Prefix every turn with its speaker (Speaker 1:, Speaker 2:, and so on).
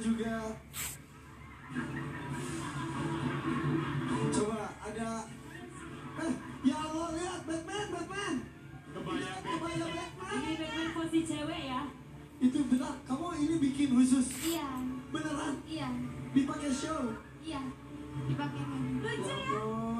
Speaker 1: juga coba ada eh ya Allah lihat Batman Batman
Speaker 2: Kebaya
Speaker 1: kebaya Batman
Speaker 3: Ini Batman versi cewek ya?
Speaker 1: itu benar kamu ini bikin khusus
Speaker 4: Iya,
Speaker 1: beneran
Speaker 4: iya,
Speaker 1: dipakai show
Speaker 4: iya. Dipakai lagi.
Speaker 3: Lucu ya?
Speaker 1: Wow,